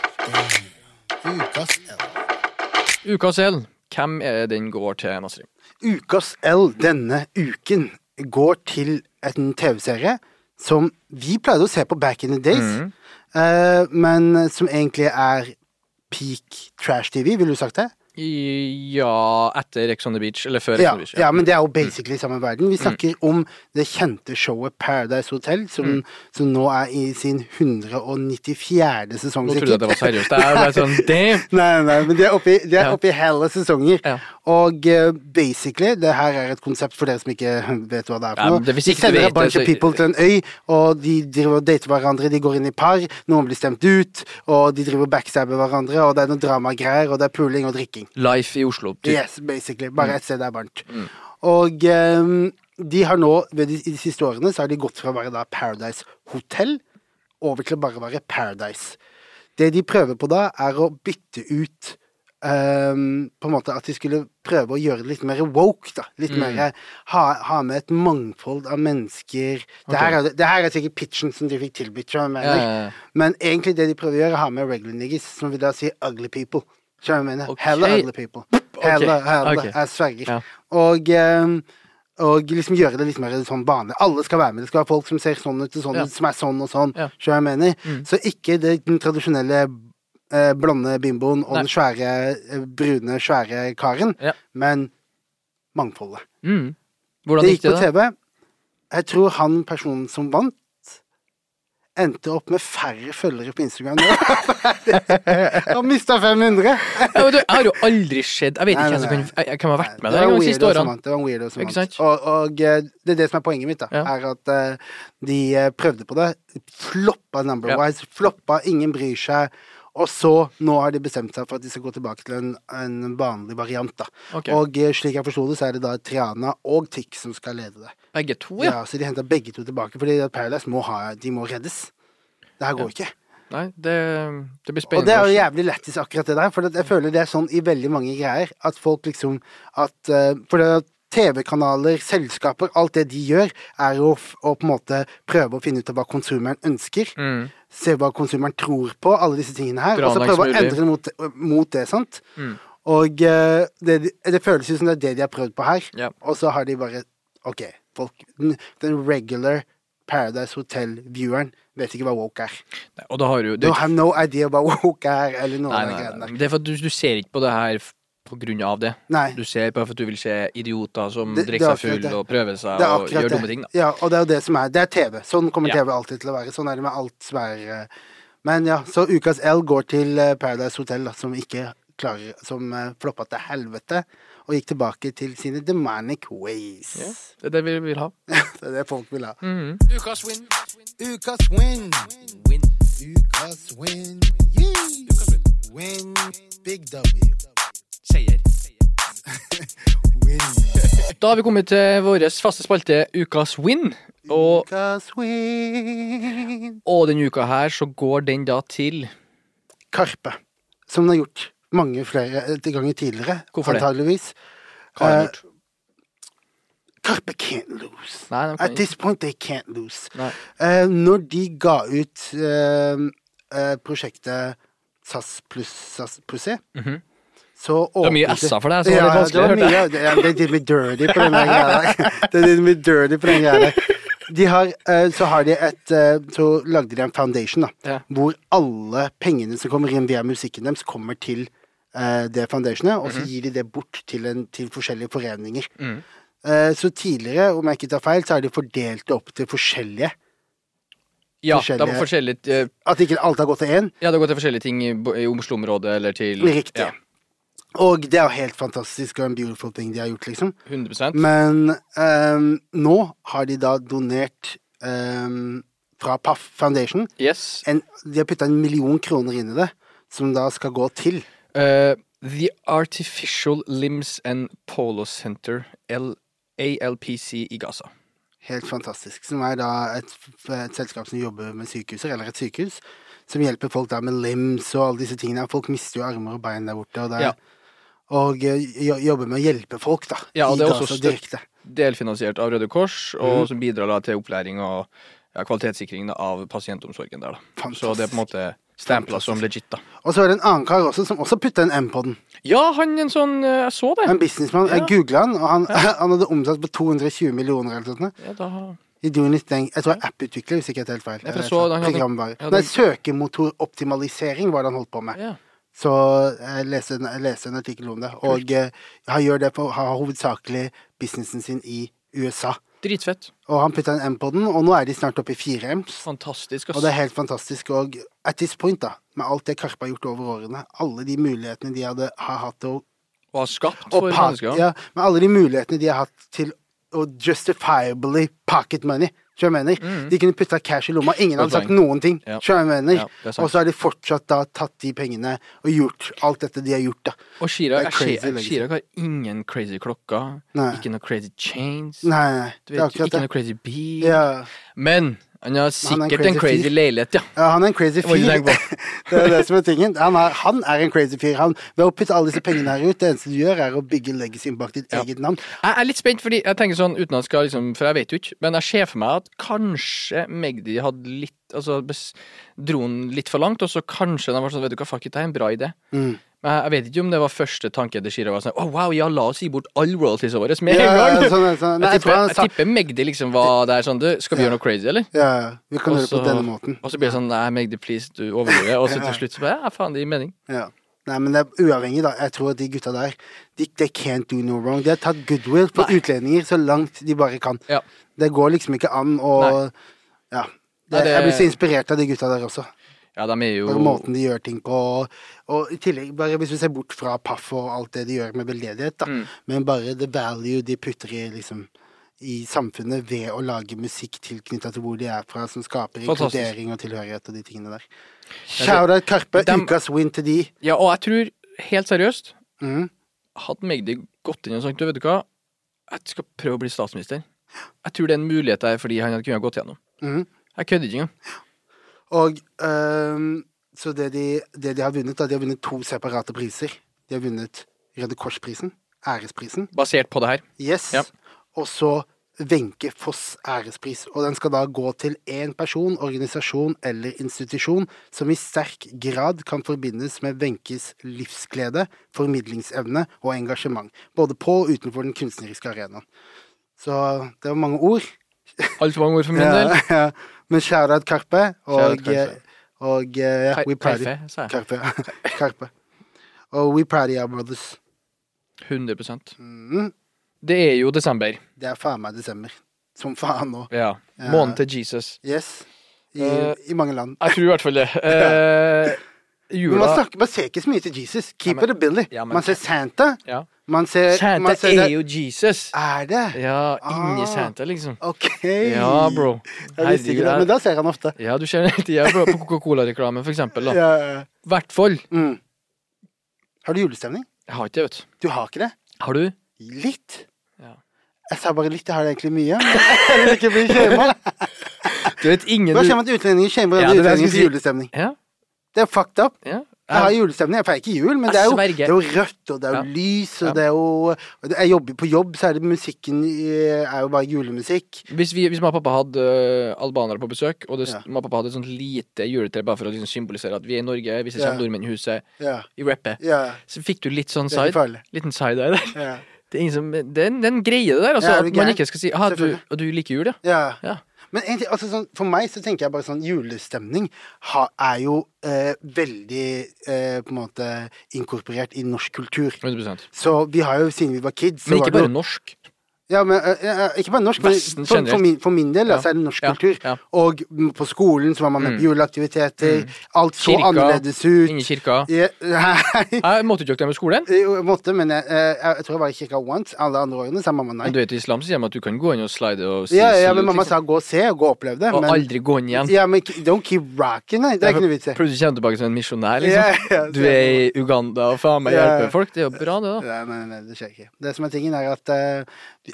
Ukas L. Ukas L. Hvem er det den går til, Nasrin? Ukas L denne uken går til en TV-serie som vi pleide å se på back in the days, Mm. eh, men som egentlig er peak trash-TV, ville du sagt det? I- Ja, etter Ex on the Beach. Eller før Ex Ja, on the Beach. ja, men det er jo basically Mm. samme verden. Vi snakker om det kjente showet Paradise Hotel, som, Mm. som nå er i sin 194. sesong. Nå trodde sikkert. jeg at det var seriøst. Det er bare sånn, damn! Nei, nei, men de er oppe i, de er Ja. oppe i hele sesonger. Ja. Og eh, basically, det her er et konsept for dere som ikke vet hva det er Ja, for noe. men det- hvis de ikke du sender vet et bunch det, of så- people til en øy, og de driver og dater hverandre, de går inn i par, noen blir stemt ut, og de driver og backstabber hverandre, og det er noen dramagreier, og det er puling og drikking. Life i Oslo. Typ. Yes, basically. Bare et sted det er varmt. Og eh, de har nå, ved de, i de siste årene, så har de gått fra å være da Paradise Hotel over til å bare være Paradise. Det de prøver på da, er å bytte ut ehm, På en måte at de skulle prøve å gjøre det litt mer woke, da. Litt mer ha, ha med et mangfold av mennesker. Det, her er, det her er sikkert pitchen som de fikk tilbudt, skjønner du hva jeg Ja, ja, ja. mener. Men egentlig det de prøver å gjøre, er å ha med regular niggas, som vil da si ugly people. Skjønner du hva jeg mener? Ok. Hella ugly people. Hella, hella, ok. jeg sverger. Ja. Og, ehm, og liksom gjøre det litt mer i sånn bane. Alle skal være med. Det skal være folk som ser sånn ut og sånn Ja. ut, som er sånn og sånn. Ja. Mm. Skjønner du hva jeg mener? Så ikke det, den tradisjonelle eh, blonde bimboen og Nei. den svære, eh, brune, svære karen, Ja. men mangfoldet. Mm. Hvordan Det gikk gikk det, på da? TV. Jeg tror han personen som vant, endte opp med færre følgere på Instagram nå. Han mista 500! Ja, vet du, jeg har jo aldri sett Jeg vet Nei, ikke hvem som nei, kan jeg- jeg kan ha vært med Det altså, var der engang en de siste weirdo som årene. vant. Det var en weirdo som Ikke vant. sant? Og, og eh, det er det som er poenget mitt, da. Ja. Er at eh, de eh, prøvde på det. Floppa number-wise. Floppa, ingen bryr seg. Og så, nå har de bestemt seg for at de skal gå tilbake til en, en vanlig variant, da. Ok. Og eh, slik jeg forsto det, så er det da Triana og Tix som skal lede det. Begge to, Ja, ja. Så de henter begge to tilbake, fordi Paradise må ha De må reddes. Det her går ikke. Nei, det, det blir Og det er jo spennende. jævlig lættis, akkurat det der. For at jeg føler det er sånn i veldig mange greier. At folk liksom at, eh, For det at TV-kanaler, selskaper, alt det de gjør, er jo å f- å på en måte prøve å finne ut av hva konsumeren ønsker. Mm. Se hva konsumeren tror på, alle disse tingene her. Dra Og så langs prøve å mulig. endre det mot, mot det, sant. Mm. Og eh, det, det føles ut som det er det de har prøvd på her. Ja. Og så har de bare Ok, folk Den, den regular Paradise Hotel-vieweren vet ikke hva woke er. Nei, Og da har du, det Du har no idea hva woke er, eller noen Nei, av de nei, greiene der. nei. Det er for at du, du ser ikke på det her f- på grunn av det. Nei. Du ser bare for at du vil se idioter som Det- det er drikker seg akkurat det. full og prøver seg Det er og gjør akkurat dumme ting. det. da. Ja, og det er jo det som er. Det er TV. Sånn kommer Ja. TV alltid til å være. Sånn er det med alt som er eh, Men ja, så ukas L går til eh, Paradise Hotel, da, som ikke klarer Som eh, floppa til helvete, og gikk tilbake til sine demonic ways. Ja, Mm. det er det vi vil ha. Det er det folk vil ha. Ukas win. Ukas win. Ukas win. Win. Big W. Seier. Win. Da har vi kommet til vår faste spalte Ukas win. Og, Ukas win. og denne uka her så går den da til Karpe. Som den har gjort mange flere eh, ganger tidligere, Hvorfor det? antageligvis. Hva har den Eh, gjort? Karpe can't lose. Nei, de kan At ikke. this point they can't lose. Nei. Eh, når de ga ut eh, eh, prosjektet SAS pluss SAS pluss C, så var mye åpnet S-er for deg, så Mhm. det var litt ja, vanskelig, det var hørte mye, det, ja, det did me dirty på den der greia der. Det did me dirty på den greia der. de har, eh, så har de et eh, Så lagde de en foundation, da. Ja. Hvor alle pengene som kommer inn via musikken deres, kommer til eh, det foundationet, og Mhm. så gir de det bort til, en, til forskjellige foreninger. Mm. Eh, så tidligere, om jeg ikke tar feil, så har de fordelt det opp til forskjellige. Ja, Forskjellige- da må forskjellige eh, At ikke alt har gått til én. Ja, det har gått til forskjellige ting i, Bo- i Oslo-området eller til Riktig. Mm. Ja, Og det er jo helt fantastisk og en beautiful ting de har gjort, liksom. 100 Men ehm, nå har de da donert ehm, fra Paff Foundation Yes. en, De har putta en million kroner inn i det, som da skal gå til Eh, the Artificial Limbs and Polo Center, L ALPC i Gaza. Helt fantastisk. Som er da et, f- et selskap som jobber med sykehuser, eller et sykehus, som hjelper folk da med limbs og alle disse tingene. Folk mister jo armer og bein der borte, og, det er- Ja. og eh, jo- jobber med å hjelpe folk, da. Ja, og i det er også Gaza støtt- direkte. Delfinansiert av Røde Kors, og som bidrar da til opplæring og ja, kvalitetssikring av pasientomsorgen der. da. Så det er på en måte stampla som legit, da. Og så er det en annen kar også, som også putta en M på den. Ja, han en sånn eh, Jeg så det. En businessmann. Jeg Ja. googla han, og han, han hadde omsatt på 220 millioner eller noe sånt. Ja, da, I doing it thing. Jeg tror det er app-utvikler, hvis ikke jeg tar helt feil. Ja, for jeg Eh, så den hadde- programvare. ja, den- Nei, søkemotoroptimalisering var det han holdt på med. ja. Så jeg leste, en- jeg leste en artikkel om det. Og eh, han gjør det på, har hovedsakelig businessen sin i USA. Dritfett. Og han putta en M på den, og nå er de snart oppe i fire M's. Fantastisk. Og ass. det er helt fantastisk. Og at this point, da, med alt det Karpe har gjort over årene, alle de mulighetene de hadde, har hatt til å Og har skapt og for pa- mennesker. ja, med alle de mulighetene de har hatt til å justifiably pocket money. skjønner du hva jeg Mm. mener? De kunne putta cash i lomma, ingen hadde Godt sagt poeng. noen ting. Ja. skjønner du hva jeg mener? Ja, det er sant. og så har de fortsatt da tatt de pengene og gjort alt dette de har gjort, da. Og Chirag, Det er jeg ser- crazy legacy. Chirag har ingen crazy klokker. Nei. Ikke noe crazy chains. Nei, nei, nei, Du det er vet, akkurat ikke det. noe crazy bil. Ja. Men han Han har er en sikkert crazy en crazy fyr. leilighet, ja. ja, han er en crazy må fyr. ikke tenke det er det som er tingen. Han er, han er en crazy fyr. Han, ved å putte alle disse pengene her ut, det eneste du gjør, er å bygge legacyen bak ditt Ja. eget navn. Jeg er litt spent, fordi jeg tenker sånn, uten at jeg skal liksom, for jeg vet jo ikke, men jeg ser for meg at kanskje Magdi hadde litt, altså bes, dro den litt for langt, og så kanskje de var sånn, vet du hva, fuck it, det er en bra idé. Mm. Men jeg, jeg vet ikke om det var første tanke til Shira var sånn, oh wow, ja, la oss gi bort all royalties våre med Ja, en gang. ja, sånn, sånn. Nei, jeg tror jeg, tipper, han jeg sa- tipper Magdi liksom var der sånn, du, skal vi gjøre noe crazy, eller? Ja, vi kan Og gjøre det på så- denne måten. Og så blir det sånn, nei, Magdi, please, du overdriver. Og så til slutt så bare, ja, faen, det gir mening. Ja. Nei, men det er uavhengig, da. Jeg tror at de gutta der, de, they can't do no wrong. De har tatt goodwill for utlendinger så langt de bare kan. Ja. Det går liksom ikke an å Ja. Det, Nei, det- Jeg blir så inspirert av de gutta der også. Ja, de er jo Bare måten de gjør ting på. Og, og i tillegg, bare hvis vi ser bort fra paff og alt det de gjør med veldedighet, da, Mm. men bare the value de putter i liksom i samfunnet ved å lage musikk tilknytta til hvor de er fra, som skaper Fantastisk. inkludering og tilhørighet og de tingene der. Shout-out Karpe, Dem- ukas win til de. Ja, og jeg tror, helt seriøst, Mhm. hadde Magdi gått inn og sagt, du vet du hva, jeg skal prøve å bli statsminister. Jeg tror det er en mulighet der fordi han hadde kunnet gått gjennom. Mhm. Jeg kødder ikke engang. Og øhm, så det de, det de har vunnet, da, de har vunnet to separate priser. De har vunnet Røde Kors-prisen, æresprisen, Basert på det her. yes, Ja. og så Wenche Foss ærespris. Og den skal da gå til én person, organisasjon eller institusjon som i sterk grad kan forbindes med Wenches livsglede, formidlingsevne og engasjement. Både på og utenfor den kunstneriske arenaen. Så det var mange ord. Altfor mange ord for min del. Ja, ja. Men shout-out Karpe. Og, Shout-out Karpe. og eh, Kar- we proud Karpe, sa jeg. Karpe. Karpe. Og we proud of you, brothers. 100 Mm, Det er jo desember. det er faen meg desember. Som faen nå. Ja. Måneden til Jesus. Yes. I, Eh, I mange land. Jeg tror i hvert fall det. Eh, Men man, jula snakker, man ser ikke så mye til Jesus. Keep Ja, men- it a billy. Ja, men- man ser Santa. ja. Man ser Santa man ser er jo Jesus. Er det? Ja, inni Ah. Santa, liksom. Ok. Ja, bro. Jeg visste ikke det, men Herregud. jeg- da ser han ofte. Ja, du ser hele tida på Coca-Cola-reklamen, for eksempel. da. Ja, ja. I hvert fall. Mm. Har du julestemning? Jeg har ikke det, vet du. Du har ikke det? Har du? Litt. Ja. Jeg sa bare litt, jeg har det egentlig mye. men Jeg vil ikke bli shama. Du vet ingen Nå kommer at utlendinger shamer Ja, andre det utlendinger er det jeg skulle til si. julestemning. Ja, Det er fucked up. ja. Jeg har julestemning, jeg feirer ikke jul, men Jeg det er jo, sverger. det er jo rødt, og det er jo Ja. lys, Ja. og det er jo og det- Jeg jobber på jobb, så er det musikken i- er jo bare julemusikk. Hvis, vi, hvis mamma og pappa hadde ø, albanere på besøk, og det, Ja. mamma og pappa hadde et sånt lite juletre bare for å liksom symbolisere at vi er i Norge, hvis det Ja. kommer nordmenn i huset, Ja. i rappet, ja. så fikk du litt sånn Det er ikke side. farlig. Liten side eye der. Ja. Det er ingen som, det er en- det er en greie, det der. Altså, Ja, er du at man gæren? ikke skal si ah, du, Selvfølgelig. og du liker jul, ja. ja. ja. Men egentlig, altså sånn, for meg så tenker jeg bare sånn julestemning ha, er jo eh, veldig eh, på en måte inkorporert i norsk kultur. 100 Så vi har jo siden vi var kids så Men var det ikke bare jo- norsk. Ja, men, eh, eh, ikke bare norsk, Vesten men for, generelt. for, min, for min del da, Ja. så er det norsk Ja, kultur. ja. Mm. Og mm, på skolen så var man med på juleaktiviteter. Alt så Kirka, annerledes ut. Inni kirka. Ja, nei, Jeg måtte ikke dere med skolen. jo, jeg måtte, men jeg, eh, jeg tror jeg var i kirka once. Alle andre årene sa mamma nei. Men du vet, i islam så sier de at du kan gå inn og slide og si Ja, ja, si- men mamma sa gå og se, og gå og oppleve det. liksom. Og Men, aldri gå inn igjen. ja, men k- don't keep rocking, nei. Det er ikke noe vits i. Plutselig kommer du tilbake som en misjonær, Ja, liksom. ja, Du er i Uganda og faen meg Ja, ja. hjelper folk. Det er jo bra, det, da. Nei, nei, nei, det skjer ikke. Det som er tingen, er at eh,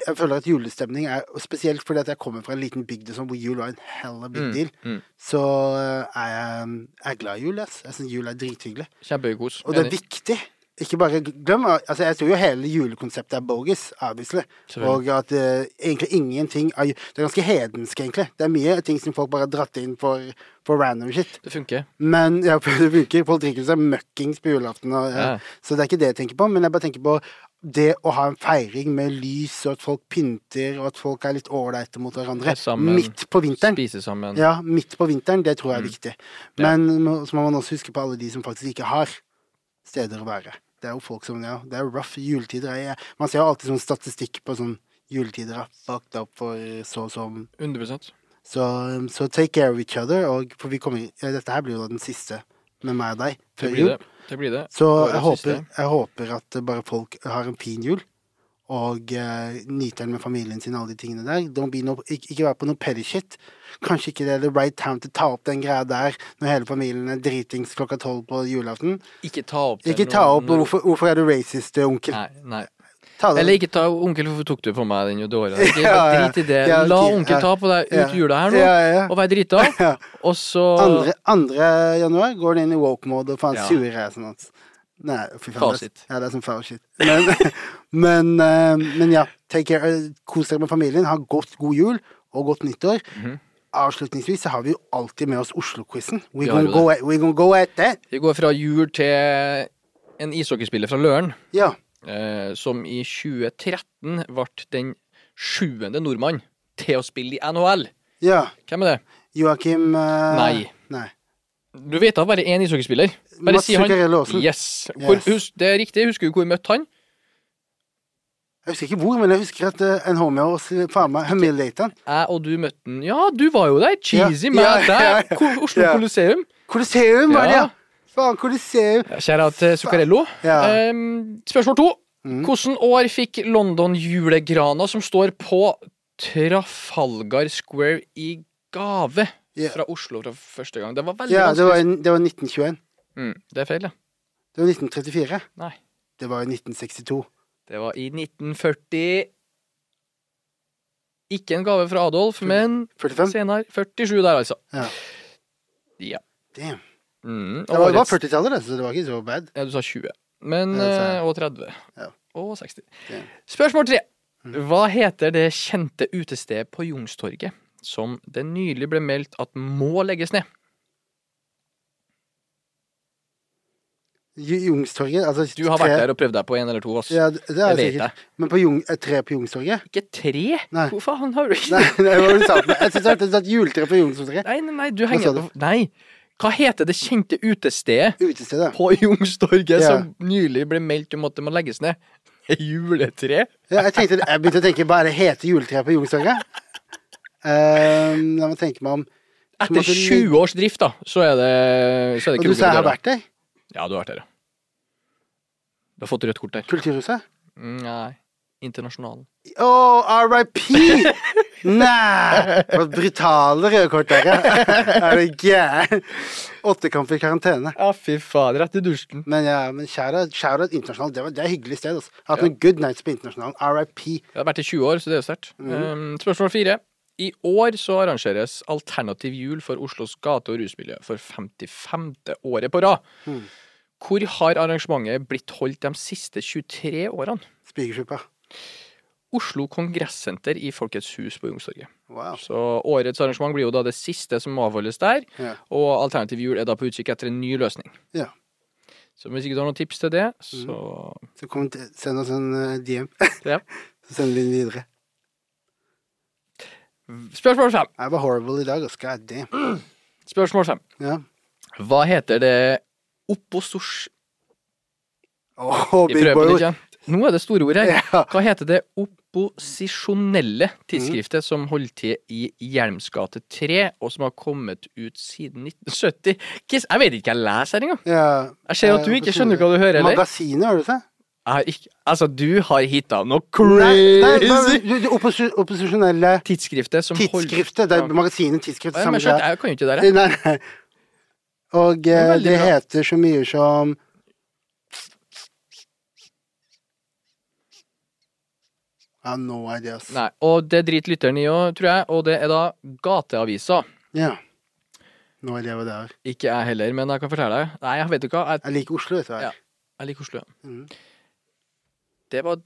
jeg føler at julestemning er og Spesielt fordi at jeg kommer fra en liten bygd og sånn, hvor jul var en hella Mm, big deal, så eh, er jeg, jeg er glad i jul. ass. Jeg syns jul er drithyggelig. Kjempehøy kos. Og det er Enig. viktig. Ikke bare glem altså Jeg tror jo hele julekonseptet er bogus, obviously. Og Selvfølgelig. at eh, egentlig ingenting er ju- Det er ganske hedensk, egentlig. Det er mye ting som folk bare har dratt inn for, for random shit. Det funker. Men ja, for det funker. Folk drikker seg møkkings på julaften. Og, eh, Ja. Så det er ikke det jeg tenker på. Men jeg bare tenker på det å ha en feiring med lys, og at folk pynter, og at folk er litt ålreite mot hverandre. Sammen. Mm. Midt på vinteren. Spise sammen. Ja, midt på vinteren. Det tror jeg er viktig. Men må- så må man også huske på alle de som faktisk ikke har steder å være. Det er jo folk som ja, Det er rough. Juletider er Man ser jo alltid sånn statistikk på sånn Juletider er fucked up for så og sånn. 100 Så, um, så take care of each other. Og for vi kommer, ja, dette her blir jo da den siste med meg og deg Det før blir jul. det. Det blir det. Så Årets jeg håper, siste. jeg håper at eh, bare folk har en fin jul. Og eh, nyter den med familien sin, alle de tingene der. Don't be no, ikke, ikke vær på noe petty shit. Kanskje ikke det er the right time to ta opp den greia der når hele familien er dritings klokka tolv på julaften. Ikke ta opp det Ikke nå- ta opp nå- hvorfor, 'Hvorfor er du racist, onkel?' Nei, nei. Ta det. Eller ikke ta Onkel, hvorfor tok du på meg den dåra? Ikke- Ja, ja. Drit i det. Ja, La ok, onkel ja. ta på deg ut Ja. jula her nå, Ja, ja, ja. og være drita. Ja. Og så Andre, andre januar går det inn i woke-mode og faen Ja. surer jeg sånn at Nei, fy faen. det- Fasit. Ja, det er som fasit. Men, men, eh, men ja, take care. eh, Kos dere med familien. Ha godt god jul og godt nyttår. Mhm. Avslutningsvis så har vi jo alltid med oss Oslo-quizen. We're, Vi har gonna jo go at- we're gonna go at that. Vi går fra jul til en ishockeyspiller fra Løren, Ja. eh, som i 2013 ble den sjuende nordmann til å spille i NHL. ja. Hvem er det? Joakim eh, Nei. nei. Du vet da bare én ishockeyspiller. Bare Mats si han. Zuccarello Aasen. Yes. Hvor, Yes. hus, det er riktig. Husker du hvor vi møtte han? Jeg husker ikke hvor, men jeg husker at eh, en homie av oss eh, faen meg humiliate han. Jeg og du møtte han. Ja, du var jo der! Cheesy Ja, man ja, ja, der! Ko- Oslo Ja. Colosseum. Colosseum, var det, Ja. ja! Faen, Colosseum. Kjære til Zuccarello. Ja. Mm. Ehm, spørsmål to. Hvilket år fikk London julegrana som står på Trafalgar Square i gave Ja. fra Oslo fra første gang? Det var veldig Ja, det var, vanskelig. det var 1921. Mm, det er feil, det. Det var 1934. Nei. Det var i 1962. Det var i 1940 Ikke en gave fra Adolf, men 45? senere. 47 der, altså. Ja. Ja. Damn. Mm, Det var, det var årets- 40-tallet, det, så det var ikke så bad. Ja, du sa 20. Men, Ja, det sa eh, jeg. og 30. Ja. Og 60. Ja. Mm. Spørsmål tre. Hva heter det kjente utestedet på Youngstorget som det nylig ble meldt at må legges ned? Ju- Youngstorget altså, Du har vært der og prøvd deg på en eller to. Ass. Ja, det, det er Jeg vet sikkert. Men på Jung, eh, tre på Youngstorget? Ikke tre? Nei. Hvor faen har du ikke Nei, det var det du sa. Jeg syns det var et juletre på Youngstorget. Nei, nei, nei, du Hva sa henger du? på Nei. Hva heter det kjente utestedet Utestedet. på Youngstorget Ja. som nylig ble meldt om at det må legges ned? Juletre? Ja, jeg, tenkte, jeg begynte å tenke bare hete juletre på Youngstorget. Ehm, la meg tenke meg om. Så måtte Etter det 20 års drift, da, så er det, så er det Og du sa jeg har der. vært der? Ja, du har vært der, ja. Du har fått rødt kort der. Kulturhuset? Nei. Internasjonalen. Oh, RIP! Nei! Det var brutale røde kort der, ja. Er du gæren? Åttekamp i karantene. Ja, fy faen. Rett i dusjen. Men ja, men shout-out shout internasjonalt. Det, var- det er et hyggelig sted. Altså. Jeg har hatt noen good nights på internasjonalen. RIP. Jeg har vært i 20 år, så det er jo sterkt. Mm. Um, spørsmål fire. I år så arrangeres Alternativ jul for Oslos gate- og rusmiljø for 55. året på rad. Mm. Hvor har arrangementet blitt holdt de siste 23 årene? Spikersuppe. Oslo Kongressenter i Folkets hus på Youngstorget. Wow. Så årets arrangement blir jo da det siste som avholdes der, Ja. og Alternativ jul er da på utkikk etter en ny løsning. Ja. Så hvis ikke du har noen tips til det, så Så kom til, send oss en eh, DM, Ja. så sender vi den videre. Spørsmål fem. Jeg var horrible i dag, ass. God damn. Spørsmål fem. Ja. Hva heter det oppå sosj Åh, i big prøven, boy. ikke sant? Nå er det store ord her. Ja. Mhm. Hva heter det opposisjonelle tidsskriftet som holdt til i Hjelms gate 3, og som har kommet ut siden 1970? Kiss, jeg vet ikke hva jeg leser her engang. ja. Jeg ser Eh, at du ikke skjønner hva du hører, eller? Magasinet, hører du det? Jeg har ikke, altså, du har hitta noe Nei, nei, nei, crazy! du- du- opposi- opposisjonelle Tidsskriftet som holdt tidsskriftet. Det Ja. er magasinet, tidsskriftet, Ja, samme men skjønt, greia. jeg kan jo ikke det der. jeg. Nei, nei. Og er eh, veldig det bra. heter så mye som Ja, no idea, ass. Nei, og det driter lytteren i òg, tror jeg, og det er da gateavisa. Ja. No idea hva det er. Ikke jeg heller, men jeg kan fortelle deg. Nei, jeg vet du hva, jeg, Jeg liker Oslo, vet du. Ja. Ja. jeg liker Oslo. Mhm. Det var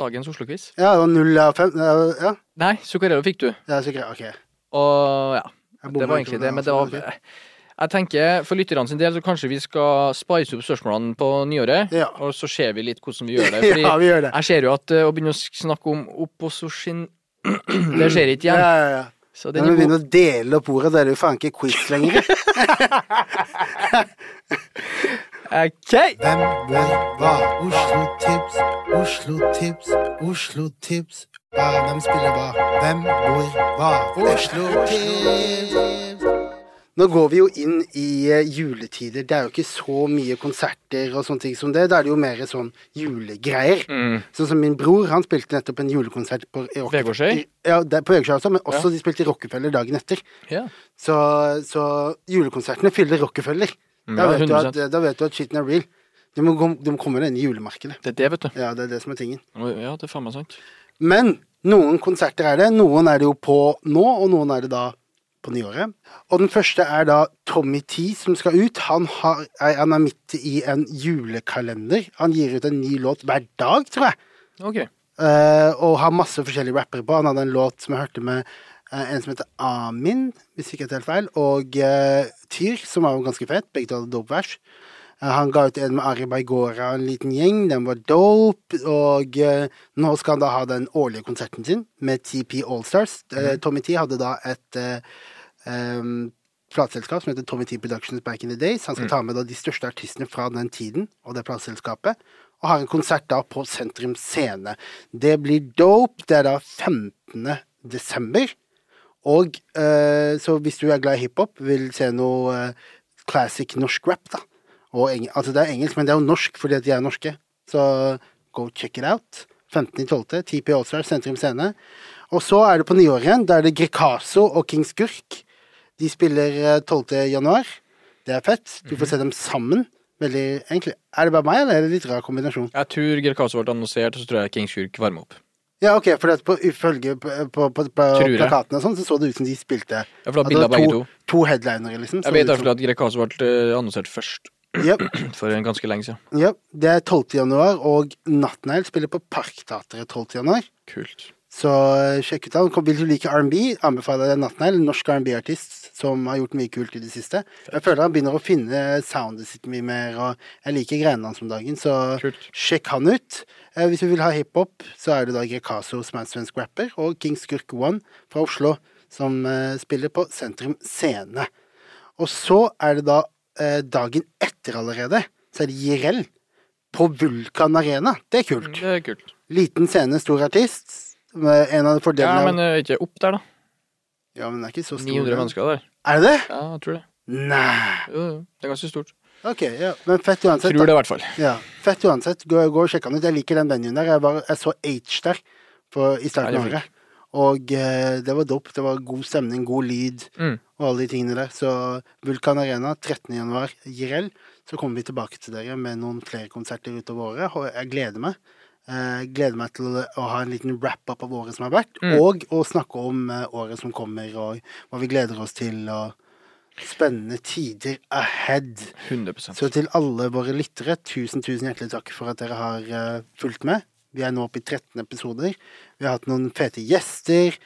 dagens Oslo-quiz. ja, det var null av fem. Ja, ja. Nei, Zuccarello fikk du. ja så greit. Ok. Og ja, Jeg det bommer var ikke egentlig på det, men det altså, var Jeg tenker, for lytterne sin del, så kanskje vi skal spice opp spørsmålene på nyåret, Ja. og så ser vi litt hvordan vi gjør det. ok. Fordi Ja, vi gjør det. jeg ser jo at eh, å begynne å snakke om opposisjon Det skjer ikke Ja, igjen. ja, ja. Når Så den vi er god. begynner å dele opp ordet, da er det jo faen ikke quiz lenger. OK! Hvem, hvor, hva? Oslo-tips, Oslo-tips, Oslo-tips. Hva, hvem spiller hva? Hvem, hvor, hva? Oslo-tips. Nå går vi jo inn i eh, juletider. Det er jo ikke så mye konserter og sånne ting som det. Da er det jo mer sånn julegreier. Mm. Sånn som min bror, han spilte nettopp en julekonsert på i Rock- Vegårshøy? i- Ja, det, på Vegårshøy også, men også Ja. de spilte i Rockefeller dagen etter. Ja. Så, så julekonsertene fyller Rockefeller. Da Ja, vet, du at, 100%. da vet du at shitten er real. Du må, gå- du må komme deg inn i julemarkedet. Det er det, vet du. Ja, det er det som er tingen. Ja, det er faen meg sant. Men noen konserter er det. Noen er det jo på nå, og noen er det da på nyåret. Og den første er da Tommy T som skal ut. Han, har, er- han er midt i en julekalender. Han gir ut en ny låt hver dag, tror jeg. OK. Eh, og har masse forskjellige rappere på. Han hadde en låt som jeg hørte med eh, en som heter Amin, hvis ikke jeg tar helt feil, og eh, Tyr, som var jo ganske fett. Begge to hadde dope vers. Eh, han ga ut en med Ari Baigora og en liten gjeng. Den var dope. Og eh, nå skal han da ha den årlige konserten sin med TP Allstars. Eh, Tommy T hadde da et eh, em, Ehm, plateselskap som heter Tommy T Productions Back in the Days. Han skal ta med da de største artistene fra den tiden og det plateselskapet. Og har en konsert da på Sentrum Scene. Det blir dope. Det er da 15. desember. Og eh, så hvis du er glad i hiphop, vil se noe eh, classic norsk rap, da. Og eng altså det er engelsk, men det er jo norsk fordi at de er norske. Så go check it out. 15.12. TP Allstar, Sentrum Scene. Og så er det på nyåret igjen. Da er det Grecaso og King Skurk. De spiller eh, 12. januar. Det er fett. Du får se dem sammen. Veldig egentlig. Er det bare meg, eller er det litt rar kombinasjon? Jeg tror Gerkaso ble annonsert, og så tror jeg King Skurk varmer opp. Ja, ok, for det at på, ifølge på, på, på, på Tror jeg. plakatene og sånn, så så det ut som de spilte Ja, for da At bildet det av var begge to, to. to headlinere, liksom. så Jeg det vet ut iallfall at Gerkaso ble eh, annonsert først, som- Jep, for en ganske lenge siden. jep. Det er 12. januar, og Nattnegl spiller på Parkteatret 12. januar. Kult. Så eh, sjekk ut han. Kom- Vil du like R&B, anbefaler jeg Nattnegl. Norsk R&B-artist som har gjort mye kult i det siste. Jeg føler han begynner å finne soundet sitt mye mer, og jeg liker greiene hans om dagen, så Kult. sjekk han ut. Eh, Hvis du vil ha hiphop, så er det da Grekazo, som er en svensk rapper, og King Skurk One fra Oslo, som eh, spiller på Sentrum Scene. Og så er det da eh, dagen etter allerede, så er det Jirel på Vulkan Arena. Det er kult. Det er kult. Liten scene, stor artist. Med en av Ja, fordelene av- men eh, ikke opp der, da. Ja, men den er ikke så stor. 900 den. mennesker der. Er det det? Ja, jeg tror det. Nei. Jo, jo, det er ganske stort. Ok, ja. Men fett uansett. Tror da. det, i hvert fall. Ja, fett uansett. Gå, gå og sjekk han ut. Jeg liker den venuen der. Jeg, var, jeg så H der på, i starten Ja, av det er året. Og eh, det var dope. Det var god stemning, god lyd Mm. og alle de tingene der. Så Vulkan Arena 13. januar, Jirel. Så kommer vi tilbake til dere med noen flere konserter utover året. Og jeg gleder meg. Eh, gleder meg til å ha en liten wrap-up av året som har vært, Mm. og å snakke om eh, året som kommer, og hva vi gleder oss til, og spennende tider ahead. 100 Så til alle våre lyttere, tusen, tusen hjertelig takk for at dere har eh, fulgt med. Vi er nå oppe i 13 episoder. Vi har hatt noen fete gjester.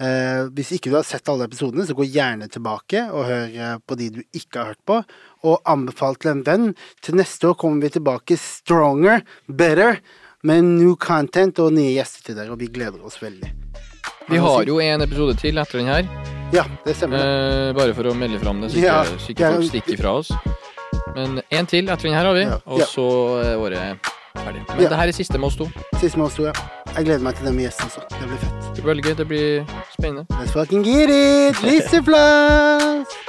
Eh, hvis ikke du har sett alle episodene, så gå gjerne tilbake og hør eh, på de du ikke har hørt på. Og anbefal til en venn. Til neste år kommer vi tilbake stronger, better, med new content og nye gjester til dere, og vi gleder oss veldig. Vi har jo en episode til etter den her, Ja, det stemmer. eh, bare for å melde fram det, så Ja. ikke, så ikke folk stikker fra oss. Men en til etter den her har vi, Ja. og Ja. så er året ferdig. Men Ja. det her er siste med oss to. Siste med oss to, ja. Jeg gleder meg til det med gjest også. Det blir fett. Det blir veldig gøy, det blir spennende. Let's fucking get it! Liseplass!